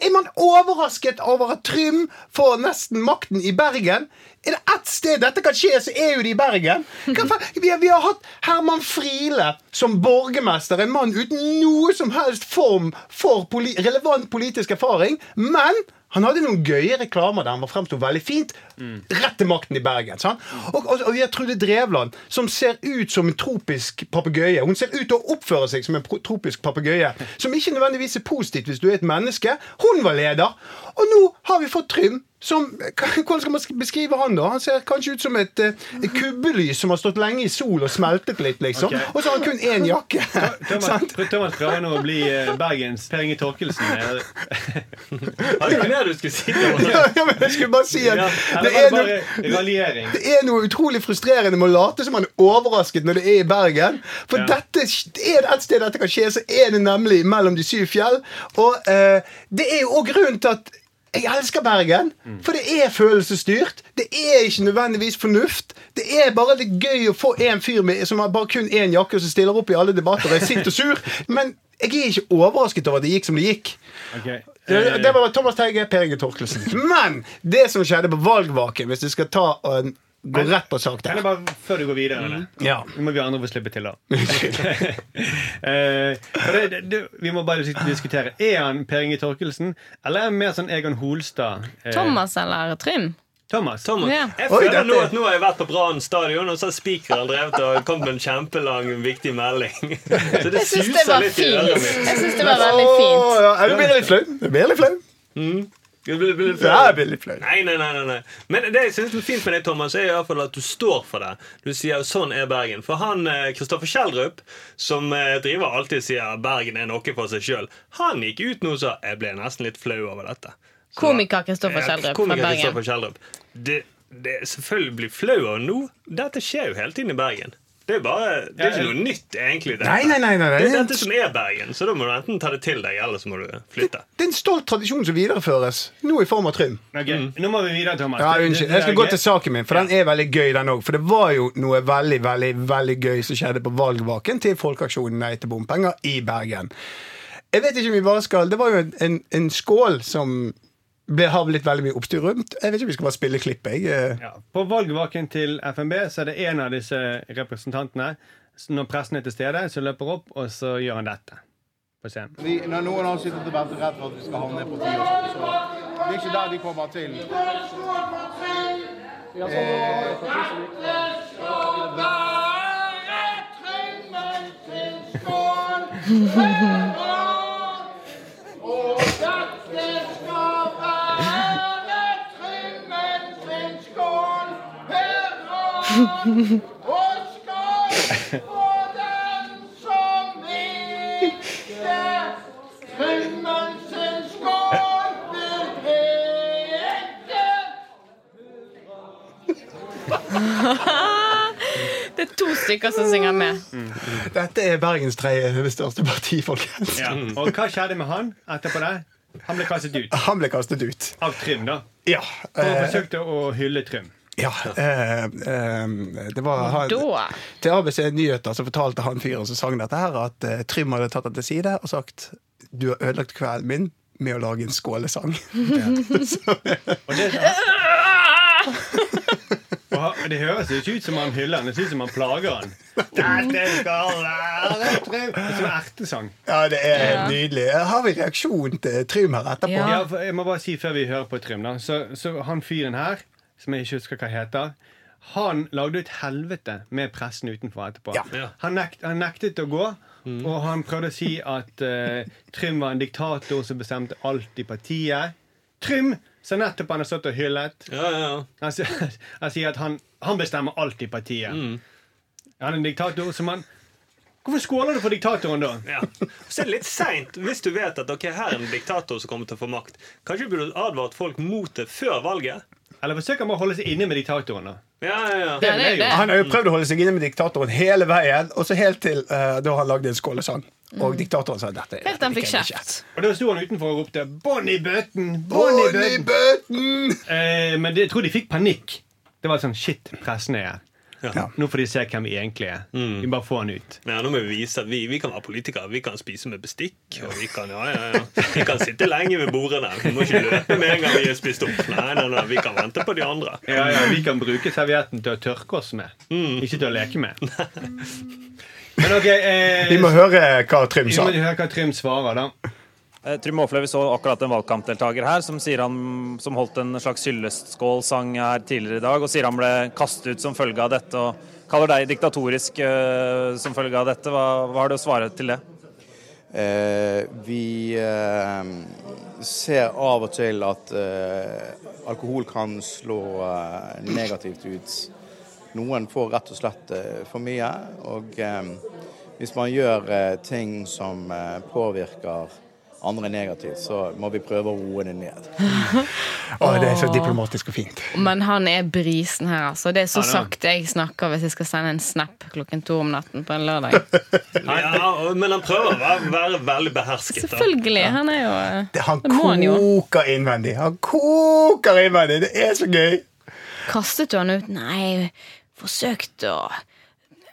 [SPEAKER 4] Er man overrasket over at Trym får nesten makten i Bergen? Er det ett sted dette kan skje, så er jo det i Bergen. Hva fa- Vi har, vi har hatt Herman Friele som borgermester, en mann uten noe som helst form for poli relevant politisk erfaring. Men han hadde noen gøye reklamer der han var fremsto veldig fint. Rett til makten i Bergen. sant? Og, og, og vi har Trude Drevland, som ser ut som en tropisk papegøye. Hun ser ut til å oppføre seg som en pro- tropisk papegøye, som ikke nødvendigvis er positivt hvis du er et menneske. Hun var leder, og nå har vi fått Trym. Som, hvordan skal man beskrive han, da? Han ser kanskje ut som et, eh, et kubbelys som har stått lenge i sol og smeltet litt, liksom.
[SPEAKER 2] Ok.
[SPEAKER 4] Og så har han kun én
[SPEAKER 2] (laughs)
[SPEAKER 4] jakke.
[SPEAKER 2] (laughs)
[SPEAKER 4] sant?
[SPEAKER 2] Thomas, Thomas prøver nå å bli eh, Bergens Per Inge Torkelsen. eh,
[SPEAKER 5] Har du noe mer du skulle si?
[SPEAKER 4] Ja, (laughs)
[SPEAKER 5] Thomas?
[SPEAKER 4] ja, men jeg skulle bare si at
[SPEAKER 2] Ja,
[SPEAKER 4] det
[SPEAKER 2] det
[SPEAKER 4] er
[SPEAKER 2] var
[SPEAKER 4] noe
[SPEAKER 2] bare raljering.
[SPEAKER 4] Det er noe utrolig frustrerende med å late som man er overrasket når det er i Bergen. For
[SPEAKER 2] Ja.
[SPEAKER 4] dette, er det et sted dette kan skje, så er det nemlig mellom de syv fjell. Og eh, det er jo òg grunnen til at jeg elsker Bergen, for det er følelsesstyrt. Det er ikke nødvendigvis fornuft. Det er bare litt gøy å få en fyr med, som har bare kun én jakke, og som stiller opp i alle debatter og er sint og sur. Men jeg er ikke overrasket over at det gikk som det gikk.
[SPEAKER 2] Ok,
[SPEAKER 4] Det,
[SPEAKER 2] eh,
[SPEAKER 4] det var Thomas Teige, Per Inge Torkelsen. Men det som skjedde på valgvaken, hvis du skal ta og gå rett på sak
[SPEAKER 2] Kan
[SPEAKER 4] der
[SPEAKER 2] jeg bare, før du går videre Anne?
[SPEAKER 4] Ja.
[SPEAKER 2] Nå må vi andre få slippe til, da. (laughs) Eh, for det, det, det, vi må bare diskutere. Er han Per Inge Torkelsen, eller er han mer sånn Egon Holstad? eh,
[SPEAKER 3] Thomas eller Trym?
[SPEAKER 2] Thomas.
[SPEAKER 5] Thomas,
[SPEAKER 3] Ja.
[SPEAKER 5] jeg
[SPEAKER 4] Oi,
[SPEAKER 5] føler
[SPEAKER 4] dette-
[SPEAKER 5] nå at nå har jeg vært på Brann stadion, og så har spikeren drevet og kommet med en kjempelang, viktig melding.
[SPEAKER 4] (laughs)
[SPEAKER 5] Så
[SPEAKER 3] Jeg syns
[SPEAKER 5] det
[SPEAKER 3] det
[SPEAKER 5] suser
[SPEAKER 3] var
[SPEAKER 5] litt i øret
[SPEAKER 3] fint.
[SPEAKER 5] mitt.
[SPEAKER 3] Jeg synes det var veldig
[SPEAKER 4] Åh,
[SPEAKER 3] fint.
[SPEAKER 4] ja, jeg blir litt flau. Jeg blir litt flau.
[SPEAKER 5] Det blir- blir-
[SPEAKER 4] Ja, jeg blir litt flau.
[SPEAKER 5] Nei, nei, nei, nei, nei. Men det jeg synes er fint med deg, Thomas, er i hvert fall at du står for det. Du sier sånn er Bergen. For han eh, Kristoffer Kjeldrup, som eh, driver alltid og sier Bergen er noe for seg sjøl, han gikk ut nå og sa jeg ble nesten litt flau over dette. Så-
[SPEAKER 3] Komiker Kristoffer
[SPEAKER 5] Ja,
[SPEAKER 3] Kjeldrup fra
[SPEAKER 5] komiker
[SPEAKER 3] Bergen.
[SPEAKER 5] Kristoffer Kjeldrup. Det, det er selvfølgelig blir flau over nå. Dette skjer jo hele tiden i Bergen. Det er, bare, det er
[SPEAKER 2] Ja,
[SPEAKER 5] ikke noe nytt, egentlig. dette.
[SPEAKER 4] Nei, nei, nei, nei, nei.
[SPEAKER 5] Det er dette som er Bergen, så da må du enten ta det til deg, eller så må du flytte.
[SPEAKER 4] Det er en stolt tradisjon som videreføres, nå i form av Trym.
[SPEAKER 2] Ok, Nå må vi videre, Thomas.
[SPEAKER 4] Mm. Ja,
[SPEAKER 2] Det- det-
[SPEAKER 4] unnskyld.
[SPEAKER 2] det
[SPEAKER 4] Jeg skal
[SPEAKER 2] er
[SPEAKER 4] gå
[SPEAKER 2] gøy.
[SPEAKER 4] til saken min, for den er veldig gøy, den òg. For det var jo noe veldig veldig, veldig gøy som skjedde på valgvaken til Folkeaksjonen Nei til bompenger i Bergen. Jeg vet ikke om vi bare skal Det var jo en, en, en skål som ble, har blitt veldig mye oppstyr rundt. Jeg vet ikke om vi skal bare spille klippet. jeg. eh.
[SPEAKER 2] Ja. På valgvaken til FNB så er det en av disse representantene s- når pressen er til stede, som løper opp, og så gjør han dette. På scenen.
[SPEAKER 1] Vi, når noen har sittet og ventet rett for at vi skal havne på ti år, så det er ikke der vi kommer til.
[SPEAKER 3] Det er to stykker som synger med.
[SPEAKER 4] Dette er Bergens tredje største parti, folkens.
[SPEAKER 2] Ja. Og hva skjedde med han etterpå det? Han ble kastet ut.
[SPEAKER 4] Han ble kastet ut.
[SPEAKER 2] Av Trym, da.
[SPEAKER 4] Ja.
[SPEAKER 2] Og
[SPEAKER 4] eh,
[SPEAKER 2] forsøkte å hylle Trym.
[SPEAKER 4] ja eh, eh, det var han,
[SPEAKER 3] Da.
[SPEAKER 4] Til ABC Nyheter så fortalte han fyren som sang dette, her at eh, Trym hadde tatt det til side og sagt du har ødelagt kvelden min med å lage en
[SPEAKER 3] (laughs)
[SPEAKER 4] skålesang.
[SPEAKER 2] Og det, Og ha- det høres jo ikke ut som han hyller han, det ser ut som han plager han.
[SPEAKER 5] Dette skal være
[SPEAKER 2] Det er som en ertesang.
[SPEAKER 4] Ja, det er helt nydelig. Jeg har vi reaksjon til Trym her etterpå?
[SPEAKER 3] Ja.
[SPEAKER 2] Ja, for jeg må bare si før vi hører på Trym, da. Så, så han fyren her, som jeg ikke husker hva heter, han lagde et helvete med pressen utenfor etterpå.
[SPEAKER 4] Ja.
[SPEAKER 5] Ja.
[SPEAKER 2] Han, nekt, han nektet å gå, og han prøvde å si at eh, Trym var en diktator som bestemte alt i partiet. Trym! Så nettopp han har stått og hyllet.
[SPEAKER 5] Ja, ja, ja.
[SPEAKER 2] Han, sier- (laughs) han sier at han, han bestemmer alt i partiet. Han er en diktator som han Hvorfor skåler du for diktatoren, da?
[SPEAKER 5] Ja. Så er det litt seint hvis du vet at ok, her er en diktator som kommer til å få makt. Kanskje du burde advart folk mot det før valget?
[SPEAKER 2] Eller forsøker han bare å holde seg inne med diktatoren, da?
[SPEAKER 5] Ja, ja, ja.
[SPEAKER 3] Ja, det er jo det.
[SPEAKER 4] Han har jo prøvd å holde seg inne med diktatoren hele veien, og så helt til eh, da han lagde en skålesang. Og diktatoren sa dette.
[SPEAKER 3] Mm. Helt til han fikk
[SPEAKER 4] liker jeg
[SPEAKER 3] kjeft.
[SPEAKER 2] Og da sto han utenfor og ropte 'Bånn i bøtten! Bånn i
[SPEAKER 4] Bonnie
[SPEAKER 2] bøtten!'
[SPEAKER 4] Bøtten!
[SPEAKER 2] Eh, men det, jeg tror de fikk panikk. Det var sånn Shit, pressen er her.
[SPEAKER 5] Ja.
[SPEAKER 2] Nå får de se hvem vi egentlig er. Vi bare får han ut.
[SPEAKER 5] Ja, nå må vi vise at vi, vi kan være politikere. Vi kan spise med bestikk. Og vi kan, ja, ja, ja. Vi kan sitte lenge ved bordene. Vi må ikke løpe med en gang vi er spist opp. Nei, nei, nei, vi kan vente på de andre.
[SPEAKER 2] Ja, ja, Mm. Vi kan bruke servietten til å tørke oss med, ikke til å leke (laughs) med. Men ok, eh,
[SPEAKER 4] Vi må høre hva Trym
[SPEAKER 2] vi
[SPEAKER 4] sa.
[SPEAKER 2] må høre hva Trym svarer, da.
[SPEAKER 6] Eh, Trym Aafle, vi så akkurat en valgkampdeltaker her som, sier han, som holdt en slags hyllestskålsang her tidligere i dag, og sier han ble kastet ut som følge av dette, og kaller deg diktatorisk eh, som følge av dette. Hva, hva har du å svare til det?
[SPEAKER 7] Eh, vi eh, ser av og til at eh, alkohol kan slå eh, negativt ut. Noen får rett og slett eh, for mye. Og eh, hvis man gjør eh, ting som eh, påvirker andre negativt, så må vi prøve å roe det ned.
[SPEAKER 4] Å, det er så diplomatisk og fint.
[SPEAKER 3] Men han er brisen her, altså. Det er så
[SPEAKER 2] Ja, det er han.
[SPEAKER 3] sakte jeg snakker hvis jeg skal sende en snap klokken to om natten på en lørdag.
[SPEAKER 5] Ja, og- men han prøver å være, være veldig behersket. Da.
[SPEAKER 3] Selvfølgelig. Han er jo eh,
[SPEAKER 4] Det, han
[SPEAKER 3] det må han jo.
[SPEAKER 4] koker innvendig. Han koker innvendig! Det er så gøy!
[SPEAKER 3] Kastet du han ut? Nei, forsøkte å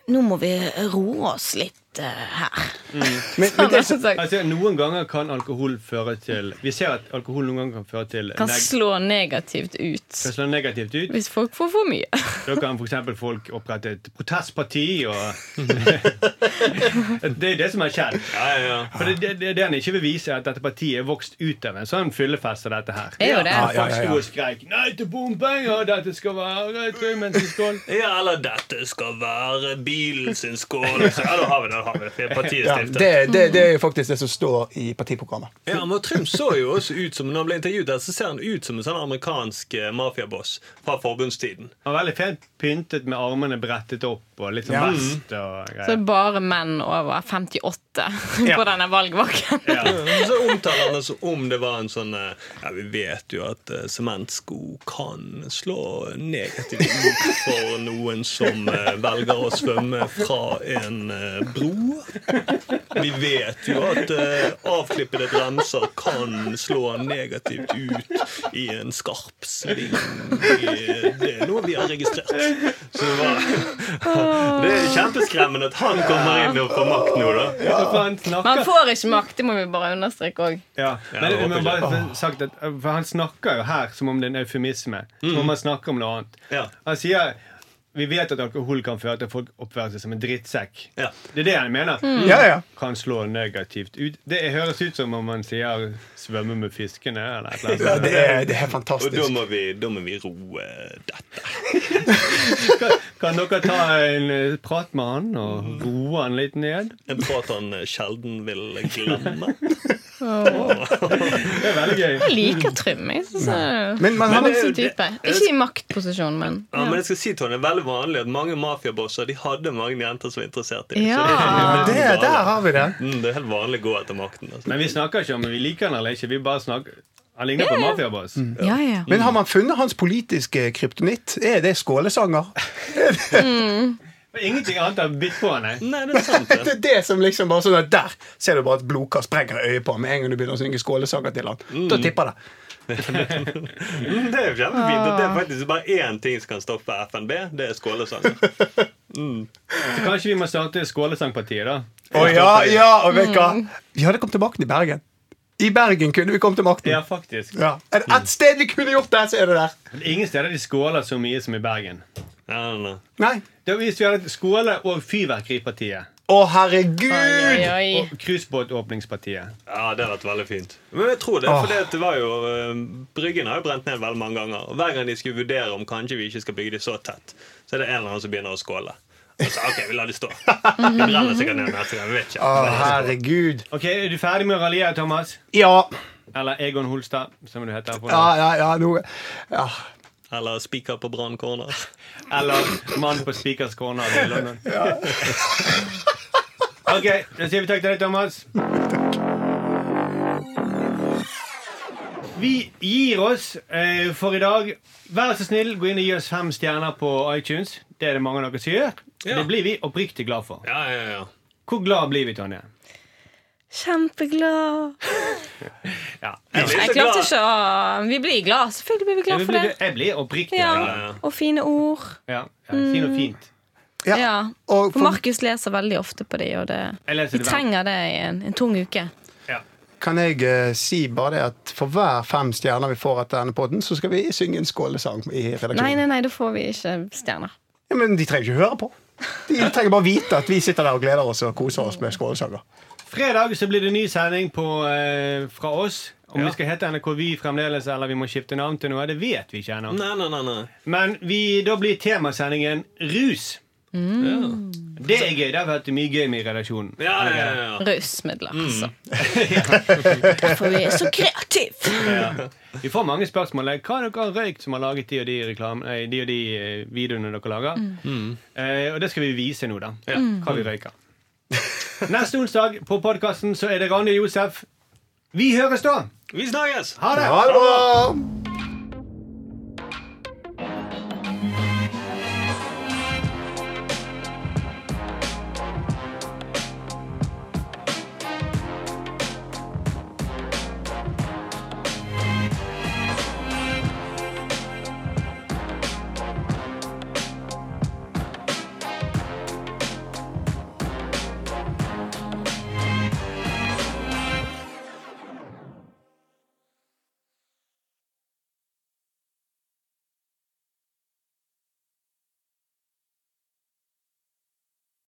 [SPEAKER 3] Nå må vi roe oss litt eh, her. (laughs)
[SPEAKER 4] Men, men
[SPEAKER 3] Han
[SPEAKER 4] det,
[SPEAKER 3] er sånn som sagt,
[SPEAKER 2] Altså, Noen ganger kan alkohol føre til Vi ser at alkohol noen ganger kan føre til
[SPEAKER 3] kan
[SPEAKER 2] neg-
[SPEAKER 3] slå negativt ut
[SPEAKER 2] kan slå negativt ut.
[SPEAKER 3] hvis folk får for mye. (laughs)
[SPEAKER 2] Da kan f.eks. folk opprette et protestparti. Og
[SPEAKER 3] (laughs)
[SPEAKER 2] det er jo det som er skjedd.
[SPEAKER 5] Ja, ja, ja.
[SPEAKER 2] For det, det, det han ikke vil vise, er at dette partiet er vokst ut av en sånn fyllefest som dette her.
[SPEAKER 3] Det er jo det.
[SPEAKER 4] Ja, ja.
[SPEAKER 2] Folk sto og skreik 'Nei til bompenger! Dette skal være trømmenseskål'.
[SPEAKER 5] Ja, eller 'dette skal være bilen sin skål'. Så, ja, da har vi det. Da har vi det. Mm. Partiet
[SPEAKER 4] ja,
[SPEAKER 5] stiftet.
[SPEAKER 4] det, det, det er jo faktisk det som står i partiprogrammet.
[SPEAKER 5] Ja, men Trym så jo også ut som Når han ble intervjuet der, så ser han ut som en sånn amerikansk eh, mafiaboss fra forbundstiden.
[SPEAKER 2] Han var veldig fint pyntet med armene brettet opp og litt sånn vest og
[SPEAKER 3] Så det
[SPEAKER 2] greier.
[SPEAKER 3] er bare menn over (laughs) 58 på denne valgvaken.
[SPEAKER 5] Ja. (laughs) Så omtaler han det som om det var en sånn eh, Ja, vi vet jo at eh, sementsko kan slå negativt ut for noen som eh, velger å svømme fra en eh, bro. Vi vet jo at eh, avklippede bremser kan slå negativt ut i en skarp sving. I- Det er noe vi har registrert. Så det, var, (laughs) det er kjempeskremmende at han kommer inn og får makt nå, da.
[SPEAKER 2] Så faen
[SPEAKER 3] Man
[SPEAKER 2] snakker
[SPEAKER 3] får ikke makt, det må vi bare understreke òg.
[SPEAKER 2] ja. Men
[SPEAKER 5] det
[SPEAKER 2] jeg må
[SPEAKER 5] håper jeg.
[SPEAKER 2] bare få sagt at For han snakker jo her som om det er en eufemisme. Som om han snakker om noe annet.
[SPEAKER 5] Mm. Ja.
[SPEAKER 2] Han sier vi vet at alkohol kan føre til at folk oppfører seg som en drittsekk.
[SPEAKER 5] Ja.
[SPEAKER 2] Det er det han mener.
[SPEAKER 4] Ja, ja.
[SPEAKER 2] Kan slå negativt ut. Det høres ut som om han sier 'svømme med fiskene' eller et
[SPEAKER 5] (laughs)
[SPEAKER 2] eller
[SPEAKER 4] Ja,
[SPEAKER 2] annet.
[SPEAKER 4] det, er, det er
[SPEAKER 5] Og da
[SPEAKER 4] fantastisk.
[SPEAKER 5] må vi, da må vi roe dette.
[SPEAKER 2] Kan dere ta en eh, prat med han og roe han litt ned?
[SPEAKER 5] En prat han eh, sjelden vil glemme.
[SPEAKER 2] Det er veldig gøy.
[SPEAKER 3] Jeg liker Trym. Jeg synes han er
[SPEAKER 4] Men man har
[SPEAKER 3] en sånn
[SPEAKER 5] det-
[SPEAKER 3] type. Ikke i maktposisjon, men
[SPEAKER 5] (laughs) Ja, men jeg skal si, Tony, det er veldig vanlig at mange mafiabosser de hadde mange jenter som var interessert i
[SPEAKER 3] Ja.
[SPEAKER 5] Så det, er helt
[SPEAKER 4] det,
[SPEAKER 5] vanlig.
[SPEAKER 4] Der har vi det.
[SPEAKER 5] Mm, det er helt vanlig å gå etter makten. Altså.
[SPEAKER 2] Men vi snakker ikke om vi liker han eller ikke. Vi bare snakker Han ligner på en mafiaboss.
[SPEAKER 3] Ja, Mm. ja.
[SPEAKER 4] Men har man funnet hans politiske kryptonitt? Er det skålesanger?
[SPEAKER 2] Men Ingenting annet har bitt på han. nei.
[SPEAKER 5] (laughs) Nei, det er sant.
[SPEAKER 4] Det
[SPEAKER 5] det.
[SPEAKER 4] er det som liksom bare sånn at Der ser du bare at blodkar sprenger i øyet på ham med en gang du begynner å synge skålesanger til han. Da tipper det.
[SPEAKER 5] Mm, (laughs) Det er jo kjempefint. og Det er faktisk bare én ting som kan stoppe FNB. Det er skålesanger.
[SPEAKER 2] Så kanskje vi må starte Skålesangpartiet, da.
[SPEAKER 3] Mm.
[SPEAKER 4] Å ja, ja, og vet du hva? Vi hadde kommet tilbake til Bergen. I Bergen kunne vi kommet til makten.
[SPEAKER 2] Ja, faktisk.
[SPEAKER 4] Ja. Er det ett sted vi kunne gjort det, så er det der.
[SPEAKER 2] Ingen steder de skåler så mye som i Bergen.
[SPEAKER 5] Ja, nei, nei.
[SPEAKER 4] Nei.
[SPEAKER 2] Da Hvis vi hadde skåle- og Fyrverkeripartiet
[SPEAKER 4] Å, herregud!
[SPEAKER 3] Oi, oi, oi.
[SPEAKER 2] og Cruisebåtåpningspartiet
[SPEAKER 5] Ja, det hadde vært veldig fint. Men jeg tror det, for det, at det var jo eh, Bryggen har jo brent ned veldig mange ganger. Og hver gang de skulle vurdere om kanskje vi ikke skal bygge de så tett, så er det en eller annen som begynner å skåle. Og så, OK, vi lar de stå. De brenner sikkert ned neste gang. Vi vet
[SPEAKER 4] Å,
[SPEAKER 5] ikke.
[SPEAKER 4] herregud.
[SPEAKER 2] Ok, Er du ferdig med å raljere, Thomas?
[SPEAKER 4] Ja.
[SPEAKER 2] Eller Egon Holstad, som du heter. På nå.
[SPEAKER 4] Ja, ja, ja, nå ja.
[SPEAKER 5] Eller spiker på Brann Corner.
[SPEAKER 2] Eller Mann på Spikers corner i London. Ok, da sier vi takk til deg, Thomas. Vi gir oss eh, for i dag. Vær så snill, gå inn og gi oss fem stjerner på iTunes. Det er det mange av dere som gjør.
[SPEAKER 5] Ja.
[SPEAKER 2] Det blir vi oppriktig glad for.
[SPEAKER 5] Ja, ja, ja.
[SPEAKER 2] Hvor glad blir vi, Tonje?
[SPEAKER 3] Kjempeglad.
[SPEAKER 2] Ja.
[SPEAKER 5] Jeg blir
[SPEAKER 3] Jeg
[SPEAKER 5] så
[SPEAKER 3] klarte
[SPEAKER 5] glad.
[SPEAKER 3] ikke å Vi blir glad. Selvfølgelig blir vi glad
[SPEAKER 2] Jeg
[SPEAKER 3] for
[SPEAKER 2] blir,
[SPEAKER 3] det.
[SPEAKER 2] jeg blir oppriktig
[SPEAKER 3] Ja. Mm.
[SPEAKER 2] glad.
[SPEAKER 5] ja.
[SPEAKER 3] Og fine ord.
[SPEAKER 2] Ja. Ja, si noe fint.
[SPEAKER 4] Ja.
[SPEAKER 3] Ja.
[SPEAKER 4] Og
[SPEAKER 3] For
[SPEAKER 4] for-
[SPEAKER 3] Markus leser veldig ofte på de, og det
[SPEAKER 2] Jeg leser
[SPEAKER 3] Vi
[SPEAKER 2] det hver-
[SPEAKER 3] trenger det i en, en tung uke.
[SPEAKER 2] Ja.
[SPEAKER 4] Kan jeg eh, si bare det at for hver fem stjerner vi får etter denne podden, så skal vi synge en skålesang i redaksjonen.
[SPEAKER 3] Nei, nei, nei, da får vi ikke stjerner.
[SPEAKER 4] Ja, men de trenger ikke høre på. De trenger bare vite at vi sitter der og gleder oss og koser oss med skålesanger.
[SPEAKER 2] Fredag så blir det ny sending på, eh, fra oss. Om vi skal hete NRK Vi fremdeles, eller vi må skifte navn til noe, det vet vi ikke ennå.
[SPEAKER 5] Nei, nei, nei. nei.
[SPEAKER 2] Men vi, da blir temasendingen rus. Det er gøy. Det har vært mye gøy med i redaksjonen.
[SPEAKER 5] Ja, ja, ja, ja.
[SPEAKER 3] Rusmidler, altså. Derfor vi er så kreative!
[SPEAKER 2] Vi får mange spørsmål. like, Hva har dere røykt som har laget de og de, reklam, nei, de, og de eh, videoene dere lager? Eh, og det skal vi vise nå, da. Hva vi røyker. Neste onsdag på podkasten så er det Randi og Josef. Vi høres da!
[SPEAKER 5] Vi snakkes!
[SPEAKER 2] Ha det!
[SPEAKER 4] Ha det bra!